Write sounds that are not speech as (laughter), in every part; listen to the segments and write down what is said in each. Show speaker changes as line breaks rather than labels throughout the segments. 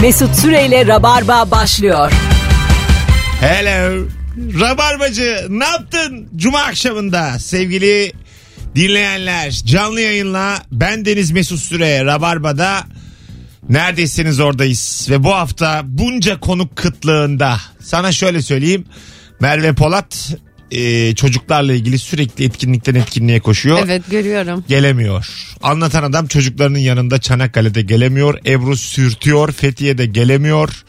Mesut Süreyle Rabarba başlıyor.
Hello. Rabarbacı ne yaptın Cuma akşamında sevgili dinleyenler canlı yayınla ben Deniz Mesut Süre Rabarba'da neredesiniz oradayız ve bu hafta bunca konuk kıtlığında sana şöyle söyleyeyim Merve Polat e, çocuklarla ilgili sürekli etkinlikten etkinliğe koşuyor
Evet görüyorum.
gelemiyor. Anlatan adam çocuklarının yanında Çanakkale'de gelemiyor. Ebru sürtüyor. Fethiye'de gelemiyor.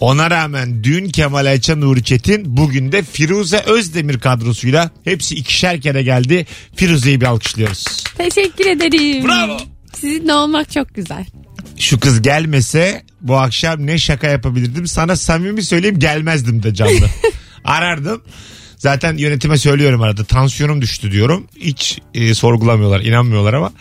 Ona rağmen dün Kemal Ayça Nuri Çetin bugün de Firuze Özdemir kadrosuyla hepsi ikişer kere geldi. Firuze'yi bir alkışlıyoruz.
Teşekkür ederim.
Bravo.
Sizinle olmak çok güzel.
Şu kız gelmese bu akşam ne şaka yapabilirdim sana samimi söyleyeyim gelmezdim de canlı. Arardım. Zaten yönetime söylüyorum arada tansiyonum düştü diyorum. Hiç e, sorgulamıyorlar inanmıyorlar ama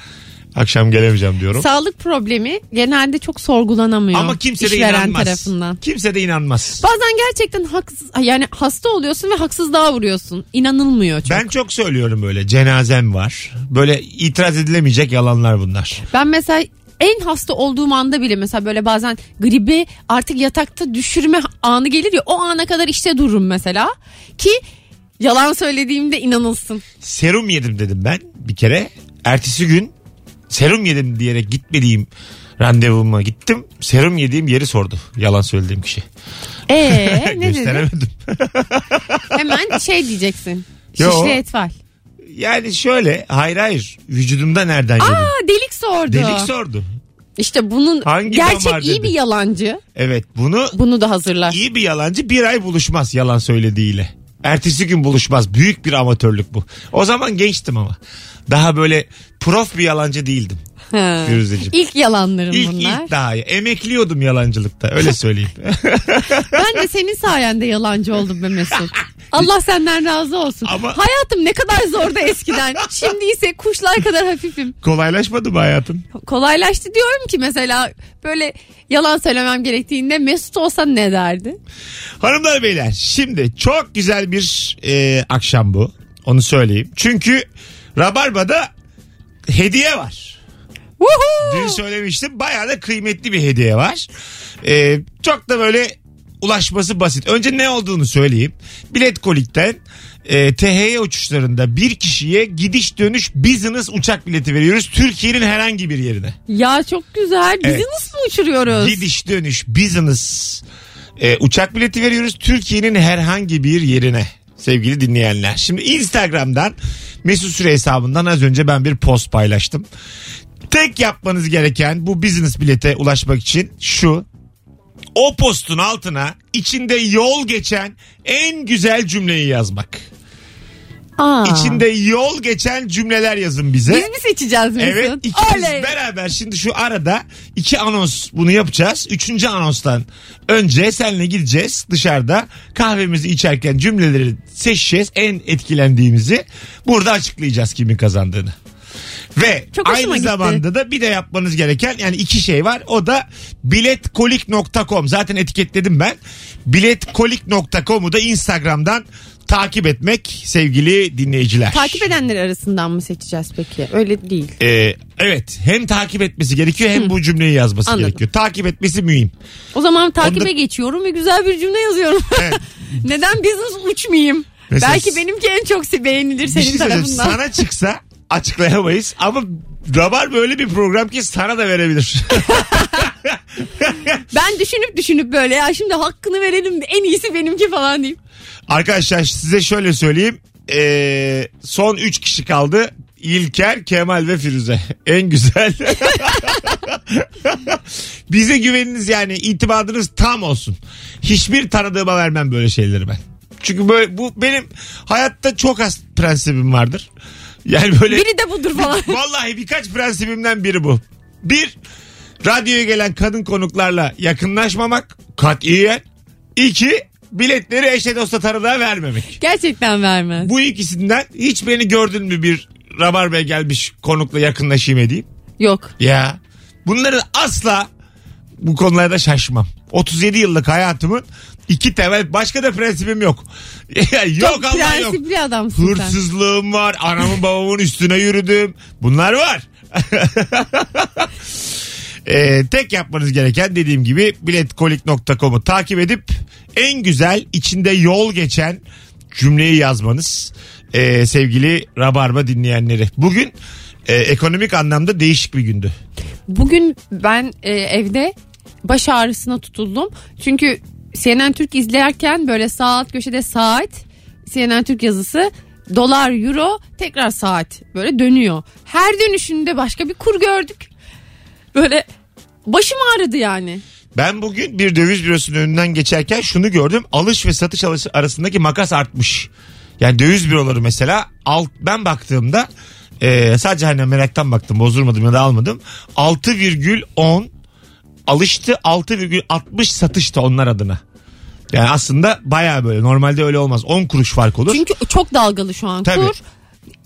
akşam gelemeyeceğim diyorum.
Sağlık problemi genelde çok sorgulanamıyor.
Ama kimse de
işveren
inanmaz.
tarafından.
Kimse de inanmaz.
Bazen gerçekten haksız yani hasta oluyorsun ve haksızlığa vuruyorsun. İnanılmıyor çok. Ben,
Ben çok söylüyorum böyle cenazem var. Böyle itiraz edilemeyecek yalanlar bunlar.
mesela en hasta olduğum anda bile mesela böyle bazen gribi artık yatakta düşürme anı gelir ya o ana kadar işte dururum mesela ki yalan söylediğimde inanılsın.
Serum yedim dedim ben bir kere. Ertesi gün serum yedim diyerek gitmediğim randevuma gittim. Serum yediğim yeri sordu yalan söylediğim kişi. (laughs)
Ee ne dedi?
Gösteremedim.
Hemen şey diyeceksin.
Yo.
Şişli etval.
Yani şöyle hayır hayır vücudumda nereden yedim?
Aa delik sordu.
Delik sordu.
İşte bunun
Hangi damar
gerçek iyi
dedi?
bir yalancı.
Evet bunu
Bunu da hazırlar.
iyi bir yalancı bir ay buluşmaz yalan söylediğiyle. Ertesi gün buluşmaz. Büyük bir amatörlük bu. O zaman gençtim ama. Daha böyle prof bir yalancı değildim.
Ha.
Firuzeciğim.
İlk yalanlarım
İlk,
bunlar.
ilk daha iyi. Emekliyordum yalancılıkta öyle söyleyeyim.
(laughs)
Eh,
Ben de senin sayende yalancı oldum
(laughs)
be Mesut. Allah senden razı olsun.
Ama-
Hayatım ne kadar
(laughs)
zordu eskiden. Şimdi ise kuşlar kadar hafifim.
Kolaylaşmadı mı hayatın?
Kolaylaştı diyorum ki mesela böyle yalan söylemem gerektiğinde Mesut olsa ne derdi?
Hanımlar beyler şimdi çok güzel bir e, akşam bu. Onu söyleyeyim. Çünkü Rabarba'da hediye var.
Vuhu!
Dün söylemiştim bayağı da kıymetli bir hediye var. Ee, çok da böyle ulaşması basit. Önce ne olduğunu söyleyeyim. Bilet Kolik'ten e, THY uçuşlarında bir kişiye gidiş dönüş business uçak bileti veriyoruz. Türkiye'nin herhangi bir yerine.
Ya çok güzel. Bizi
Evet.
nasıl uçuruyoruz?
Gidiş dönüş business e, uçak bileti veriyoruz Türkiye'nin herhangi bir yerine sevgili dinleyenler. Şimdi Instagram'dan Mesut Süre hesabından az önce ben bir post paylaştım. Tek yapmanız gereken bu business bilete ulaşmak için şu. O postun altına içinde yol geçen en güzel cümleyi yazmak.
Aa.
İçinde yol geçen cümleler yazın bize.
Biz mi seçeceğiz Mesut?
Evet ikimiz
Oley.
beraber şimdi şu arada iki anons bunu yapacağız. Üçüncü anonstan önce seninle gideceğiz dışarıda kahvemizi içerken cümleleri seçeceğiz. En etkilendiğimizi burada açıklayacağız kimin kazandığını. Ve
Çok hoşuma
aynı
gitti.
zamanda da bir de yapmanız gereken yani iki şey var. O da biletkolik.com zaten etiketledim ben. Biletkolik.com'u da Instagram'dan takip etmek sevgili dinleyiciler.
Takip edenler arasından mı seçeceğiz peki? Öyle değil.
Ee, evet hem takip etmesi gerekiyor hem bu cümleyi yazması
Anladım.
gerekiyor. Takip etmesi mühim.
O zaman takibe
Onda-
geçiyorum ve güzel bir cümle yazıyorum. (laughs)
Evet.
Neden business uçmayayım?
Mesela-
Belki benimki en çok se- beğenilir
Bir
senin
şey söyleyeceğim.
tarafından.
Sana çıksa açıklayamayız ama Rabar böyle bir program ki sana da verebilir.
Ben düşünüp düşünüp böyle ya şimdi hakkını verelim de en iyisi benimki falan deyip.
Arkadaşlar size şöyle söyleyeyim. Ee, son 3 kişi kaldı. İlker, Kemal ve Firuze. (laughs) En güzel. Bize güveniniz yani itimadınız tam olsun. Hiçbir tanıdığıma vermem böyle şeyleri ben. Çünkü böyle bu benim hayatta çok az prensibim vardır. Yani böyle
Biri de
E,
budur falan.
vallahi birkaç prensibimden biri bu. Bir, radyoya gelen kadın konuklarla yakınlaşmamak katiyen. İki, biletleri eşe dosta tanıdığa vermemek.
(laughs) Gerçekten vermez.
Bu ikisinden hiç beni gördün mü bir Rabar Bey gelmiş konukla yakınlaşayım edeyim.
Yok.
Ya bunları asla bu konularda şaşmam. 37 yıllık hayatımın iki temel başka da prensibim yok. (laughs) yok
Çok
ama yok.
prensipli adamsın sen.
Hırsızlığım var. (laughs) Anamın babamın üstüne yürüdüm. Bunlar var. (laughs) Ee, tek yapmanız gereken dediğim gibi biletkolik.com'u takip edip en güzel içinde yol geçen cümleyi yazmanız Ee, sevgili Rabarba dinleyenleri. Bugün e, ekonomik anlamda değişik bir gündü.
Bugün ben e, evde baş ağrısına tutuldum. Çünkü CNN Türk izlerken böyle sağ alt köşede saat CNN Türk yazısı dolar euro tekrar saat böyle dönüyor. Her dönüşünde başka bir kur gördük. Böyle başım ağrıdı yani.
Ben bugün bir döviz bürosunun önünden geçerken şunu gördüm. Alış ve satış alış- arasındaki makas artmış. Yani döviz büroları mesela alt, ben baktığımda e, sadece hani meraktan baktım bozdurmadım ya da almadım. 6,10 alıştı 6,60 satıştı onlar adına. Yani aslında baya böyle normalde öyle olmaz 10 kuruş fark olur.
Çünkü çok dalgalı şu an
Tabii.
kur.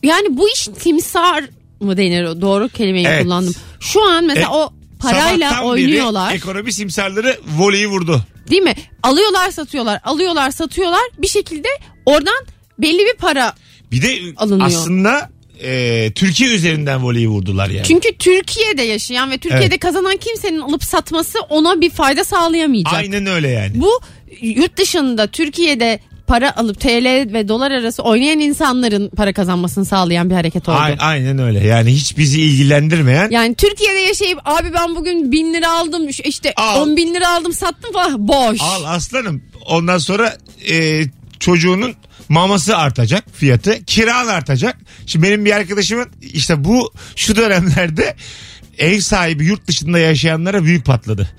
Yani bu iş timsar mı denir o doğru kelimeyi
Evet.
kullandım. Şu an mesela
E,
o parayla
Sabahtan beri
oynuyorlar.
Ekonomi simsarları voleyi vurdu.
Değil mi? Alıyorlar satıyorlar, alıyorlar satıyorlar. Bir şekilde oradan belli bir para.
Bir de
Alınıyor.
aslında e, Türkiye üzerinden voleyi vurdular yani.
Çünkü Türkiye'de yaşayan ve Türkiye'de
Evet.
kazanan kimsenin alıp satması ona bir fayda sağlayamayacak.
Aynen öyle yani.
Bu yurt dışında Türkiye'de para alıp TL ve dolar arası oynayan insanların para kazanmasını sağlayan bir hareket oldu.
A- aynen öyle. Yani hiç bizi ilgilendirmeyen
Yani Türkiye'de yaşayıp abi ben bugün bin lira aldım işte
Al.
on bin lira aldım sattım falan boş.
al aslanım. Ondan sonra e, çocuğunun maması artacak fiyatı. Kiran artacak. Şimdi benim bir arkadaşımın işte bu şu dönemlerde ev sahibi yurt dışında yaşayanlara büyük patladı.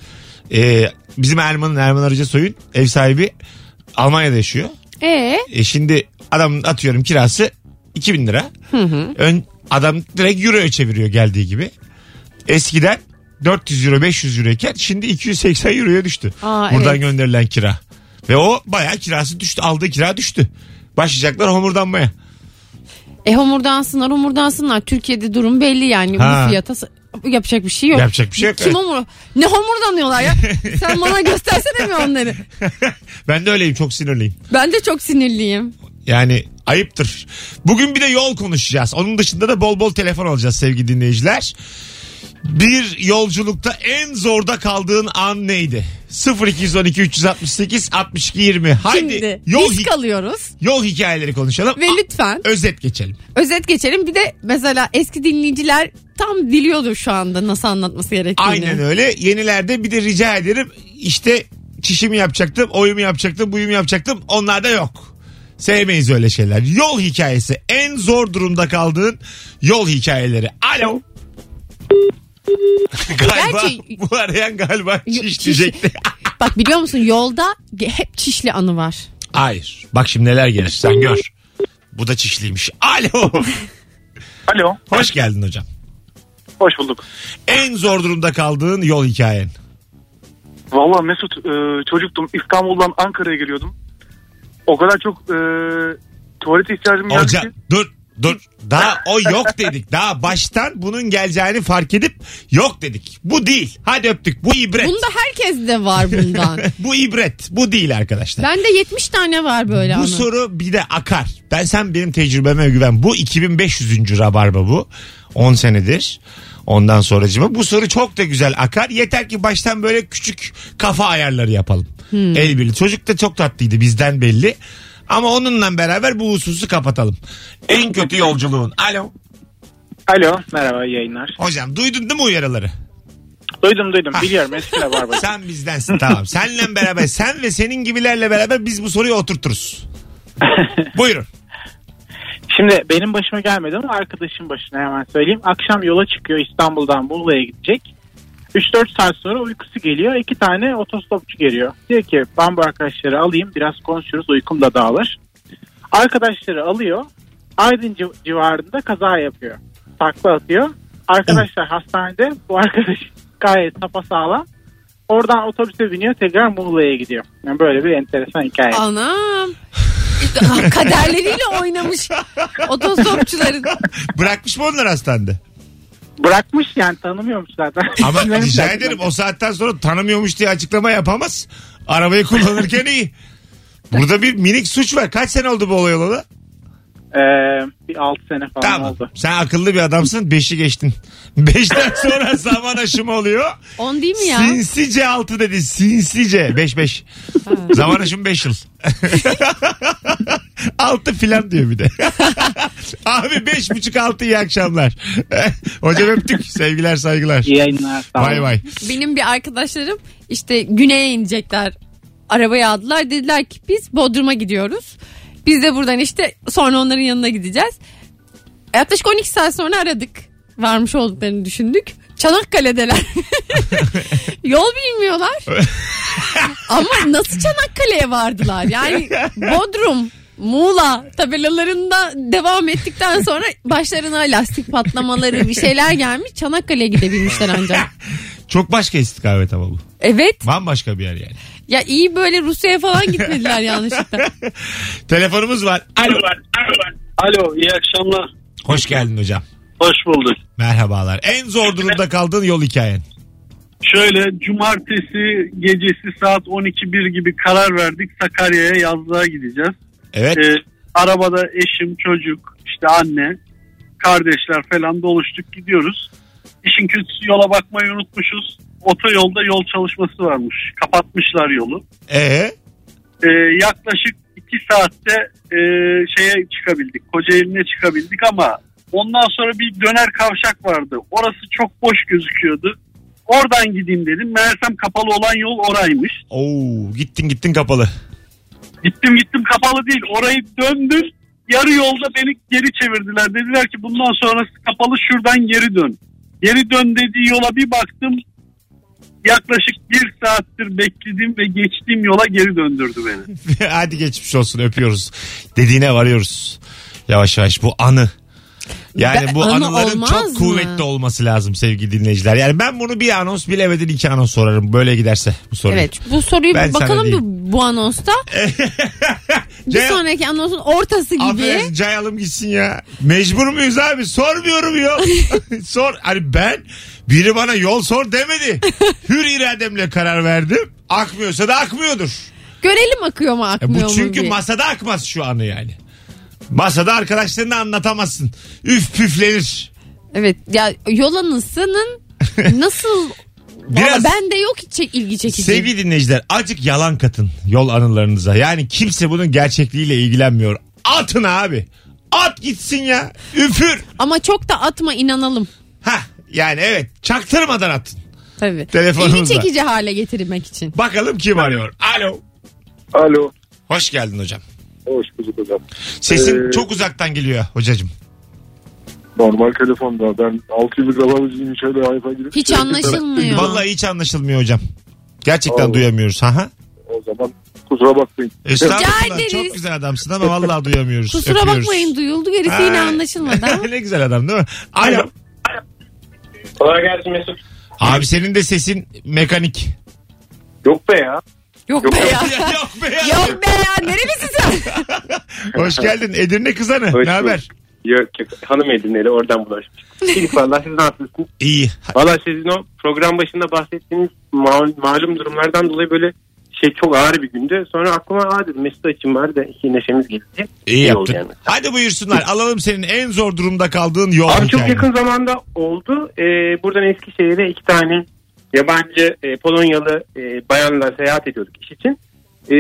E, bizim Erman'ın Erman Arıca Soy'un ev sahibi Almanya'da yaşıyor.
E
E şimdi adamın atıyorum kirası 2000 lira. Ön, adam direkt euroya çeviriyor geldiği gibi. Eskiden 400 euro 500 euro iken şimdi 280 euroya düştü.
Aa,
Buradan
evet.
gönderilen kira. Ve o bayağı kirası düştü. Aldığı kira düştü. Başlayacaklar homurdanmaya. (laughs)
E homurdansınlar homurdansınlar. Türkiye'de durum belli yani.
Ha.
Bu fiyata s- yapacak bir şey yok.
Yapacak bir şey yok,
Kim
evet.
homur? Ne
(laughs)
homurdanıyorlar ya? Sen bana göstersene mi onları?
Ben de öyleyim çok sinirliyim.
Ben de çok sinirliyim.
Yani ayıptır. Bugün bir de yol konuşacağız. Onun dışında da bol bol telefon alacağız sevgili dinleyiciler. Bir yolculukta en zorda kaldığın an neydi? 0212 368 62 20. Haydi
Şimdi
yol,
risk
hi-
alıyoruz
yol hikayeleri konuşalım.
ve
A-
lütfen
Özet geçelim.
özet geçelim. Bir de mesela eski dinleyiciler tam biliyordur şu anda nasıl anlatması gerektiğini.
Aynen öyle. Yenilerde bir de rica ederim işte çişimi yapacaktım, oyumu yapacaktım, buyumu yapacaktım. Onlar da yok. Sevmeyiz öyle şeyler. Yol hikayesi. En zor durumda kaldığın yol hikayeleri. Alo. (laughs) galiba
Gerçi-
bu arayan galiba
Yo-
çiş
çiş-
diyecekti.
Bak biliyor musun yolda ge- hep çişli anı var.
Hayır. Bak şimdi neler gelir sen gör. Bu da çişliymiş. Alo.
Alo.
Hoş geldin hocam.
Hoş bulduk.
En zor durumda kaldığın yol hikayen.
Valla Mesut e, çocuktum. İstanbul'dan Ankara'ya geliyordum. O kadar çok e, tuvalet ihtiyacım geldi
Hocam
ki.
dur dur. Daha o yok dedik. Daha baştan bunun geleceğini fark edip yok dedik. Bu değil. Hadi öptük. Bu ibret.
Bunda herkes de var
(laughs)
bundan.
Bu ibret. Bu değil arkadaşlar.
Bende 70 tane var böyle
bu
anı.
soru bir de akar. Ben sen benim tecrübeme güven. Bu 2500. rabarba bu. 10 senedir. Ondan sonracıma bu soru çok da güzel akar. Yeter ki baştan böyle küçük kafa ayarları yapalım. El birliği. Çocuk da çok tatlıydı bizden belli. Ama onunla beraber bu hususu kapatalım. En kötü yolculuğun. Alo.
Alo. Merhaba iyi yayınlar.
Hocam duydun değil mi uyarıları?
Duydum duydum. Biliyorum eskiler
(laughs)
var. böyle.
Sen bizdensin tamam. Senle beraber sen ve senin gibilerle beraber biz bu soruyu oturturuz. Buyurun.
Şimdi benim başıma gelmedi ama arkadaşım başına hemen söyleyeyim. Akşam yola çıkıyor İstanbul'dan Muğla'ya gidecek. 3-4 saat sonra uykusu geliyor. İki tane otostopçu geliyor. Diyor ki ben bu arkadaşları alayım biraz konuşuruz uykum da dağılır. Arkadaşları alıyor. Aydın civ- civarında kaza yapıyor. Takla atıyor. Arkadaşlar hastanede bu arkadaş (laughs) gayet sapasağlam. Oradan otobüse biniyor tekrar Muğla'ya gidiyor. Yani böyle bir enteresan hikaye.
Anam. Kaderleriyle oynamış otostopçuların.
Bırakmış mı onları hastanede?
Bırakmış yani tanımıyormuş zaten. (laughs)
Ama
Bilmem
rica
zaten.
ederim o saatten sonra tanımıyormuş diye açıklama yapamaz. Arabayı kullanırken iyi. Burada bir minik suç var. Kaç sene oldu bu olay olalı?
Ee, bir 6 sene falan
Tamam.
oldu.
Sen akıllı bir adamsın. Beşi geçtin. Beşten sonra zaman aşımı oluyor.
10 değil mi ya?
Sinsice altı dedi. Sinsice. Beş beş. Zaman aşımı beş yıl. (laughs) altı filan diyor bir de. (laughs) Abi beş buçuk altı iyi akşamlar. (laughs) Hocam öptük. Sevgiler saygılar.
İyi yayınlar. sağ olun.
Vay vay.
Benim bir arkadaşlarım işte güneye inecekler. Arabaya aldılar. Dediler ki biz Bodrum'a gidiyoruz. Biz de buradan işte sonra onların yanına gideceğiz. Yaklaşık 12 saat sonra aradık. Varmış olduklarını düşündük. Çanakkale'deler. (laughs) Yol bilmiyorlar. Ama nasıl Çanakkale'ye vardılar? Yani Bodrum, Muğla tabelalarında devam ettikten sonra başlarına lastik patlamaları bir şeyler gelmiş. Çanakkale'ye gidebilmişler ancak.
Çok başka istikamet ama bu.
Evet.
Bambaşka bir yer yani.
Ya iyi böyle Rusya'ya
(laughs)
falan gitmediler yanlışlıkla.
Telefonumuz var. Alo.
Alo iyi akşamlar.
Hoş geldin hocam.
Hoş bulduk.
Merhabalar. En zor durumda kaldığın yol hikayen.
Şöyle cumartesi gecesi saat 12.1 gibi karar verdik Sakarya'ya yazlığa gideceğiz.
Evet.
Ee, arabada eşim, çocuk, işte anne, kardeşler falan doluştuk gidiyoruz. İşin kötüsü yola bakmayı unutmuşuz. Otoyolda yol çalışması varmış. Kapatmışlar yolu.
Ee?
Ee, yaklaşık 2 saatte e, şeye çıkabildik. Kocaeli'ne çıkabildik ama ondan sonra bir döner kavşak vardı. Orası çok boş gözüküyordu. Oradan gideyim dedim. Meğersem kapalı olan yol oraymış.
Oo, gittin gittin kapalı.
Gittim gittim kapalı değil. Orayı döndüm. Yarı yolda beni geri çevirdiler. Dediler ki bundan sonrası kapalı şuradan geri dön. Geri dön dediği yola bir baktım. Yaklaşık bir saattir bekledim ve geçtiğim yola geri döndürdü beni.
(laughs) Hadi geçmiş olsun öpüyoruz. Dediğine varıyoruz. Yavaş yavaş bu anı. Yani
Ben-
bu
anı
anıların
olmaz
çok
mı?
kuvvetli olması lazım sevgili dinleyiciler. Yani ben bunu bir anons bilemedin iki anons sorarım. Böyle giderse bu soru.
evet bu soruyu
Ben sana
bakalım
diyeyim.
bu, bu
(laughs)
anonsta. bir
Ceyhan-
sonraki anonsun ortası gibi.
Affedersin cayalım gitsin ya. Mecbur muyuz abi? Sormuyorum
(laughs)
ya. sor. Hani ben biri bana yol sor
(laughs)
demedi. Hür irademle karar verdim. Akmıyorsa da akmıyordur.
Görelim akıyor mu
E
akmıyor
bu çünkü
mu diye.
masada akmaz şu anı yani. Masada arkadaşlarına anlatamazsın. Üf püflenir.
evet ya
(laughs)
yol anısının nasıl...
Biraz-
Biraz... ben de yok hiç çek- ilgi çekici.
Sevgili dinleyiciler acık yalan katın yol anılarınıza. Yani kimse bunun gerçekliğiyle ilgilenmiyor. Atın abi. At gitsin ya. Üfür.
Ama çok da atma inanalım.
Ha yani evet çaktırmadan atın.
Tabii.
Telefonumuz
İlgi
var.
çekici hale getirmek için.
Bakalım kim arıyor. Alo.
Alo.
Hoş geldin hocam.
Hoş bulduk hocam.
Sesin
Ee,
çok uzaktan geliyor hocacığım.
Normal telefonda ben 6 yıllık rababıcıyım şöyle hayfa girip.
Hiç
Sürekli-
anlaşılmıyor.
Vallahi hiç anlaşılmıyor hocam. Gerçekten
Vallahi.
duyamıyoruz. Aha.
O zaman kusura bakmayın.
Rica
Estağfurullah
ederiz.
çok güzel adamsın ama vallahi duyamıyoruz.
Kusura
Öpüyoruz.
bakmayın duyuldu gerisi yine
Ay. (laughs)
anlaşılmadı. ha?
ne güzel adam değil mi? Alo.
Kolay gelsin Mesut.
Abi senin de sesin mekanik.
Yok be ya.
Yok be ya.
Yok be (laughs) ya.
Yok be ya nerelisin sen?
(laughs) Hoş geldin Edirne kızanı.
Hoş
ne haber?
Yok yok. Hanım edinleri oradan bulaşmış. Filip valla siz nasılsınız?
İyi.
Valla sizin o program başında bahsettiğiniz mal- malum durumlardan dolayı böyle şey çok ağır bir gündü. Sonra aklıma aa dedim Mesut açım var da işte neşemiz gitti.
İyi
oldu
yaptın.
yani.
Hadi buyursunlar. Alalım senin en zor durumda kaldığın yol
Abi çok
hikayeni.
yakın zamanda oldu. Ee, buradan Eskişehir'e iki tane yabancı e, Polonyalı e, bayanla seyahat ediyorduk iş için. Ee,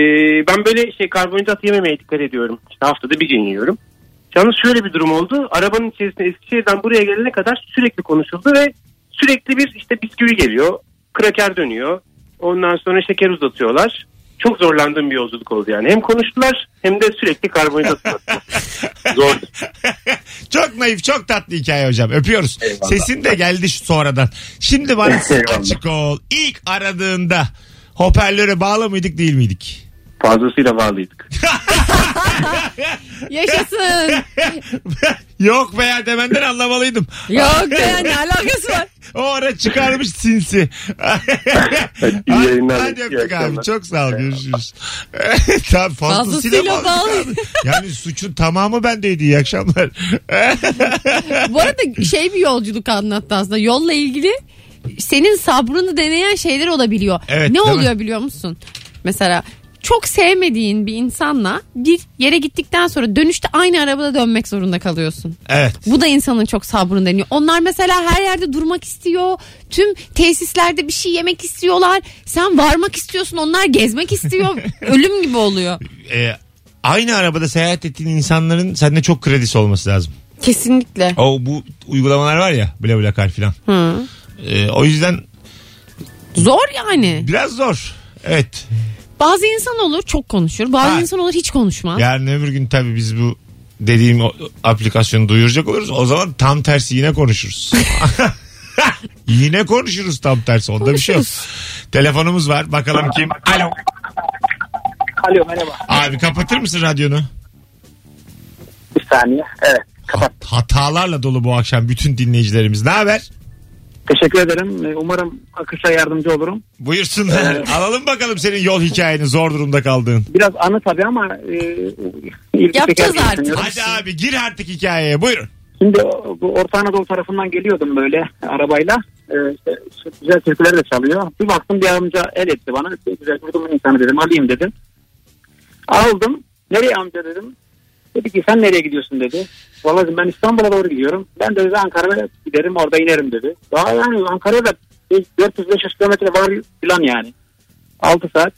ben böyle şey karbonhidrat yememeye dikkat ediyorum. İşte haftada bir gün yiyorum. Yalnız şöyle bir durum oldu. Arabanın içerisinde Eskişehir'den buraya gelene kadar sürekli konuşuldu ve sürekli bir işte bisküvi geliyor. Kraker dönüyor. Ondan sonra şeker uzatıyorlar. Çok zorlandığım bir yolculuk oldu yani. Hem konuştular hem de sürekli karbonhidrat uzattılar. Zordu.
(laughs) çok naif, çok tatlı hikaye hocam. Öpüyoruz. Sesin de geldi şu sonradan. Şimdi
(laughs)
bana
Eyvallah.
açık ol. İlk aradığında hoparlöre bağlı mıydık değil miydik?
Fazlasıyla bağlıydık.
Yaşasın.
Yok be ya demenden anlamalıydım.
Yok be ya ne alakası var?
(laughs) O ara çıkarmış sinsi. hadi,
yayınlar,
hadi
iyi
öptük abi.
akşamlar.
Çok sağ ol. Görüşürüz. Tam fazlasıyla, bağlı.
Fazlasıyla bağlı.
yani suçun tamamı bendeydi. İyi akşamlar. (laughs)
Bu arada şey bir yolculuk anlattı aslında. Yolla ilgili senin sabrını deneyen şeyler olabiliyor.
Evet,
ne
değil
oluyor biliyor musun? Mesela çok sevmediğin bir insanla bir yere gittikten sonra dönüşte aynı arabada dönmek zorunda kalıyorsun.
Evet.
Bu da insanın çok sabrını deniyor. Onlar mesela her yerde durmak istiyor. Tüm tesislerde bir şey yemek istiyorlar. Sen varmak istiyorsun. Onlar
(laughs)
gezmek istiyor. Ölüm gibi oluyor.
Ee, aynı arabada seyahat ettiğin insanların sende çok kredisi olması lazım.
Kesinlikle.
O bu uygulamalar var ya BlaBlaCar filan. Ee, o yüzden
Zor yani.
biraz zor. Evet.
Bazı insan olur çok konuşur. Bazı
Ha.
insan olur hiç konuşmaz.
Yarın öbür gün tabii biz bu dediğim o- aplikasyonu duyuracak oluruz. O zaman tam tersi yine konuşuruz. yine konuşuruz tam tersi. Onda bir şey yok. Telefonumuz var. Bakalım kim? Alo.
Alo merhaba.
Abi kapatır mısın radyonu?
Bir saniye. Ee, Evet.
Ha- Hatalarla dolu bu akşam bütün dinleyicilerimiz. Ne haber?
Teşekkür ederim. Ee, Umarım akışa yardımcı olurum.
Buyursunlar. Alalım bakalım senin yol hikayeni zor durumda kaldığın.
Biraz anı tabii ama e, ilgi
Yapacağız
çeker diye
artık.
düşünüyorum.
Hadi abi gir artık hikayeye buyurun.
Şimdi o- bu Orta Anadolu tarafından geliyordum böyle arabayla. Ee, işte, şu güzel türküler de çalıyor. Bir baktım bir amca el etti bana. Şey, güzel kurdumun insanı dedim alayım dedim. Aldım. Nereye amca dedim. Dedi ki sen nereye gidiyorsun dedi. Vallahi dedim, ben İstanbul'a doğru gidiyorum. Ben de dedi, Ankara'ya giderim orada inerim dedi. Daha yani Ankara'ya da 400-500 kilometre var plan yani. 6 saat.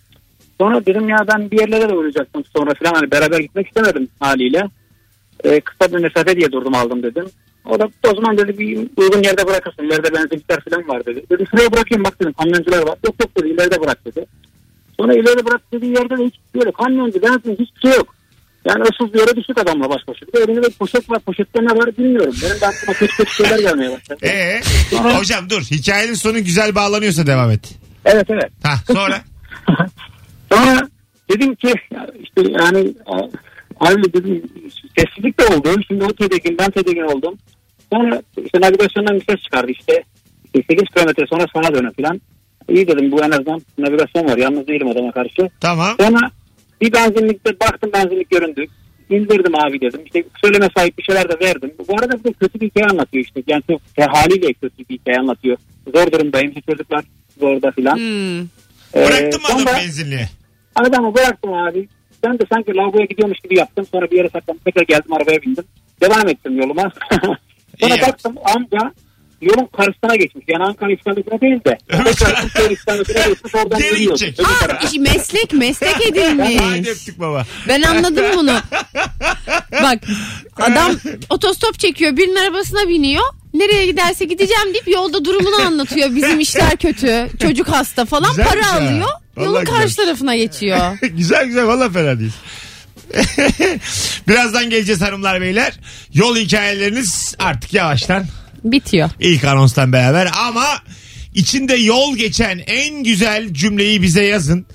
Sonra dedim ya ben bir yerlere de uğrayacaktım sonra falan hani beraber gitmek istemedim haliyle. E, kısa bir mesafe diye durdum aldım dedim. O da o zaman dedi bir uygun yerde bırakırsın. İleride benzinlikler falan var dedi. Dedim şuraya bırakayım bak dedim kamyoncular var. Yok yok dedi ileride bırak dedi. Sonra ileri bırak dediği yerde de hiç böyle kamyoncu benzin hiçbir şey yok. Yani ıssız bir yere düştük adamla baş başa. Bir de elinde bir poşet var. Poşette ne var bilmiyorum. Benim de aklıma kötü kötü şeyler gelmeye başladı.
Ee, hocam dur. Hikayenin sonu güzel bağlanıyorsa devam et.
Evet evet.
Ha
(laughs)
sonra.
Sonra dedim ki ya işte yani a- abi dedim sessizlik de oldu. Şimdi o tedirgin ben tedirgin oldum. Sonra işte navigasyondan bir ses çıkardı işte. İşte 8 kilometre sonra sağa dönün falan. İyi dedim bu en azından navigasyon var. Yalnız değilim adama karşı.
Tamam.
Sonra bir benzinlikte baktım benzinlik göründü. İndirdim abi dedim. İşte söyleme sahip bir şeyler de verdim. Bu arada bir de kötü bir hikaye anlatıyor işte. Yani çok haliyle kötü bir hikaye anlatıyor. Zor durumdayım. işte Çocuklar zorda filan.
Hmm.
Ee,
Bıraktın mı adamı
sonra-
benzinliğe?
Adamı bıraktım abi. Ben de sanki lavaboya gidiyormuş gibi yaptım. Sonra bir yere saklandım. Tekrar geldim arabaya bindim. Devam ettim yoluma. (laughs) Sonra
İyi
baktım amca yolun karşısına geçmiş. Yani Ankara İstanbul'una değil
(laughs)
de. Tekrar Türkiye İstanbul'una geçmiş. Oradan
Geri
yürüyor.
gidecek.
Öbür
Aa,
tarafa.
iş- meslek meslek
Hadi
edilmiş.
öptük baba. (laughs)
Ben anladım bunu. Bak adam otostop çekiyor birinin arabasına biniyor. Nereye giderse gideceğim deyip yolda durumunu anlatıyor. Bizim işler kötü. Çocuk hasta falan
Güzelmiş
para
ha.
alıyor.
Vallahi
Yolun karşı tarafına geçiyor.
güzel güzel valla fena değil. (laughs) Birazdan geleceğiz hanımlar beyler. Yol hikayeleriniz artık yavaştan
Bitiyor.
ilk anonstan beraber ama içinde yol geçen en güzel cümleyi bize yazın.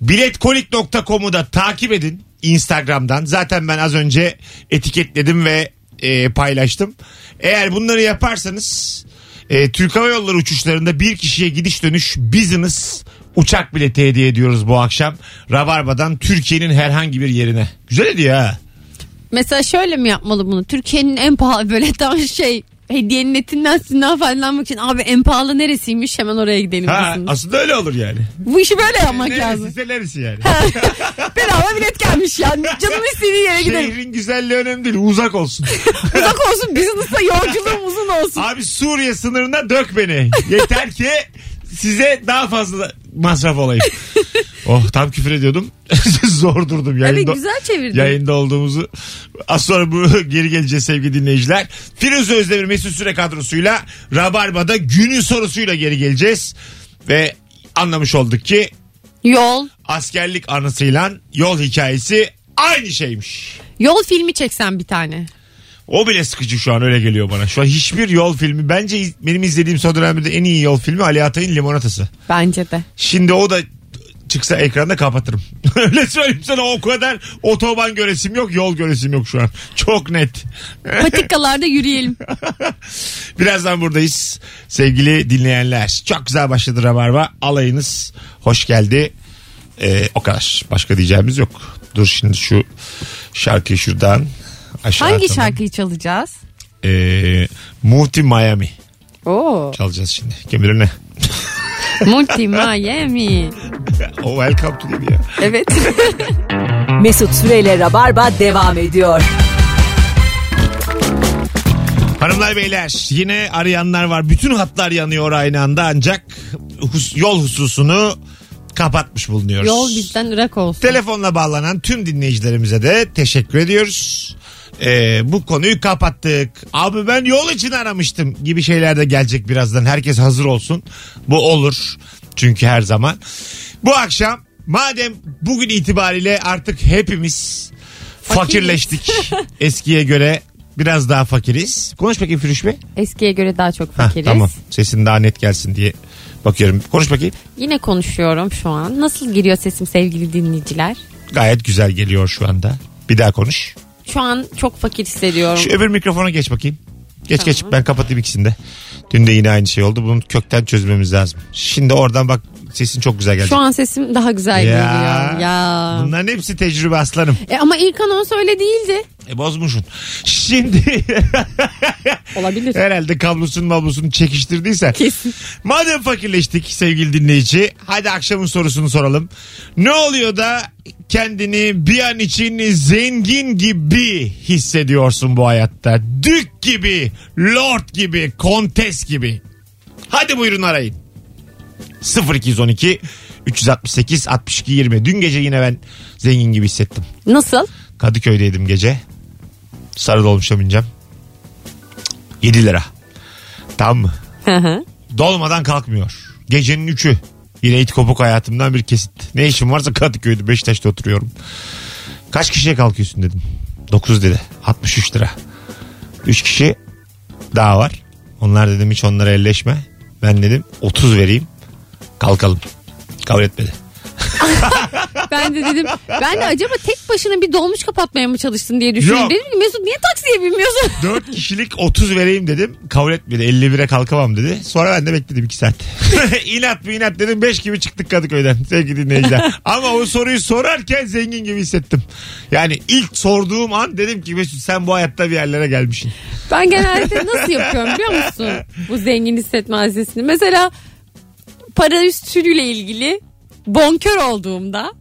Biletkolik.com'u da takip edin Instagram'dan. Zaten ben az önce etiketledim ve e, paylaştım. Eğer bunları yaparsanız e, Türk Hava Yolları uçuşlarında bir kişiye gidiş dönüş business uçak bileti hediye ediyoruz bu akşam. Rabarba'dan Türkiye'nin herhangi bir yerine. Güzel hediye ha.
Mesela şöyle mi yapmalı bunu? Türkiye'nin en pahalı böyle tam şey hediyenin etinden sütünden faydalanmak için abi en pahalı neresiymiş hemen oraya gidelim.
ha
bizim.
aslında öyle olur yani.
Bu işi böyle yapmak lazım.
Neresi, neresi yani.
Bedava bilet gelmiş yani. Canım istediği
Şey
yere gidelim.
Şehrin güzelliği önemli değil uzak
(laughs)
olsun.
Uzak olsun business'ta yolculuğum uzun olsun.
Abi Suriye sınırına dök beni. Yeter ki size daha fazla masraf olayım. oh tam küfür ediyordum. (laughs) Zor durdum
Evet
yayında.
güzel çevirdin.
Yayında olduğumuzu az sonra bu (laughs) geri geleceğiz sevgili dinleyiciler. Firuze Özdemir Mesut Süre kadrosuyla Rabarba'da günün sorusuyla geri geleceğiz. Ve anlamış olduk ki
Yol.
askerlik anısıyla yol hikayesi aynı şeymiş.
Yol filmi çeksen bir tane.
O bile sıkıcı şu an öyle geliyor bana. Şu an hiçbir yol filmi bence iz- benim izlediğim son dönemde en iyi yol filmi Ali Atay'ın Limonatası.
Bence de.
Şimdi o da çıksa ekranda kapatırım. (laughs) öyle söyleyeyim sana o kadar otoban göresim yok yol göresim yok şu an. Çok net. (laughs)
Patikalarda yürüyelim.
Birazdan buradayız sevgili dinleyenler. Çok güzel başladı Rabarba. Alayınız hoş geldi. Ee, o kadar. Başka diyeceğimiz yok. Dur şimdi şu şarkıyı şuradan aşağı
Hangi
atalım.
şarkıyı çalacağız?
Ee, Multi Miami.
Oo.
Çalacağız şimdi. Kim bilir ne?
Multi Miami.
(laughs) O welcome to değil ya.
(laughs) Evet.
Mesut Süreyle Rabarba devam ediyor.
Hanımlar beyler yine arayanlar var. Bütün hatlar yanıyor aynı anda ancak hus- yol hususunu kapatmış bulunuyoruz.
(laughs) Yol bizden ırak olsun.
Telefonla bağlanan tüm dinleyicilerimize de teşekkür ediyoruz. Ee, bu konuyu kapattık. Abi ben yol için aramıştım gibi şeyler de gelecek birazdan. Herkes hazır olsun. Bu olur. Çünkü her zaman. Bu akşam madem bugün itibariyle artık hepimiz fakirleştik. Eskiye göre biraz daha fakiriz. Konuş bakayım Firuş Bey.
Eskiye göre daha çok
Hah,
fakiriz.
tamam. Sesin daha net gelsin diye bakıyorum. Konuş bakayım.
Yine konuşuyorum şu an. Nasıl giriyor sesim sevgili dinleyiciler?
Gayet güzel geliyor şu anda. Bir daha konuş.
Şu an çok fakir hissediyorum.
Şu öbür mikrofona geç bakayım. Geç geç ben kapatayım ikisini de. Dün de yine aynı şey oldu. Bunu kökten çözmemiz lazım. Şimdi oradan bak sesin çok güzel geldi.
Şu an sesim daha güzel geliyor. Ya.
Bunların hepsi tecrübe aslanım.
E ama ilk anons öyle değildi.
E bozmuşsun.
(laughs)
Şimdi
Olabilir.
herhalde kablosun mablosunu çekiştirdiysen.
Kesin.
Madem fakirleştik sevgili dinleyici. Hadi akşamın sorusunu soralım. Ne oluyor da kendini bir an için zengin gibi hissediyorsun bu hayatta? Dük gibi, lord gibi, kontes gibi. Hadi buyurun arayın. 0212 368 62 20. Dün gece yine ben zengin gibi hissettim.
Nasıl?
Kadıköy'deydim gece. Sarı dolmuşa bineceğim. 7 lira. Tamam mı?
Hı hı.
Dolmadan kalkmıyor. Gecenin 3'ü. Yine it kopuk hayatımdan bir kesit. Ne işim varsa Kadıköy'de Beşiktaş'ta oturuyorum. Kaç kişiye kalkıyorsun dedim. 9 dedi. 63 lira. 3 kişi daha var. Onlar dedim hiç onlara elleşme. Ben dedim 30 vereyim. Kalkalım. Kabul etmedi.
ben de dedim ben de acaba tek başına bir dolmuş kapatmaya mı çalıştın diye düşündüm.
Yok.
Dedim ki, Mesut niye taksiye binmiyorsun? (laughs)
4 kişilik 30 vereyim dedim. Kabul etmedi. 51'e kalkamam dedi. Sonra ben de bekledim 2 saat. (laughs) inat mı inat dedim. 5 gibi çıktık Kadıköy'den sevgili dinleyiciler. Ama o soruyu sorarken zengin gibi hissettim. Yani ilk sorduğum an dedim ki Mesut sen bu hayatta bir yerlere gelmişsin.
Ben genelde nasıl yapıyorum biliyor musun? Bu zengin hissetme hadisesini. Mesela para üstüyle ilgili bonkör olduğumda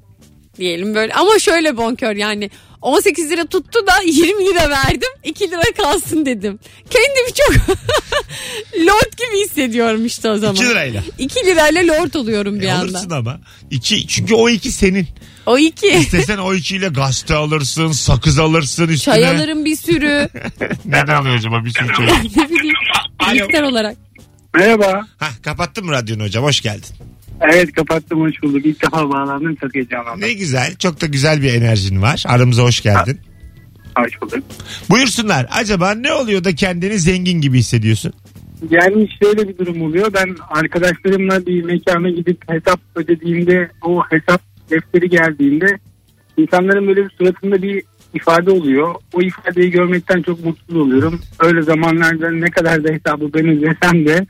diyelim böyle ama şöyle bonkör yani 18 lira tuttu da 20 lira verdim 2 lira kalsın dedim. Kendimi çok (laughs) lord gibi hissediyorum işte o zaman.
2 lirayla.
2 lirayla lord oluyorum bir
E,
anda.
alırsın ama. İki, çünkü o iki senin.
O 2.
İstesen o ikiyle gazete alırsın, sakız alırsın üstüne.
Çay alırım bir sürü.
Neden alıyor acaba bir sürü çay?
(laughs)
(laughs)
ne bileyim. Miktar olarak.
Merhaba.
Hah kapattın mı radyonu hocam? Hoş geldin.
Evet kapattım hoş bulduk. İlk defa bağlandım çok heyecanlandım.
Ne güzel. Çok da güzel bir enerjin var. Aramıza hoş geldin.
Hoş bulduk.
Buyursunlar. Acaba ne oluyor da kendini zengin gibi hissediyorsun?
Yani şöyle bir durum oluyor. Ben arkadaşlarımla bir mekana gidip hesap ödediğimde o hesap defteri geldiğinde insanların böyle bir suratında bir ifade oluyor. O ifadeyi görmekten çok mutsuz oluyorum. Öyle zamanlarda ne kadar da hesabı ben ödesem de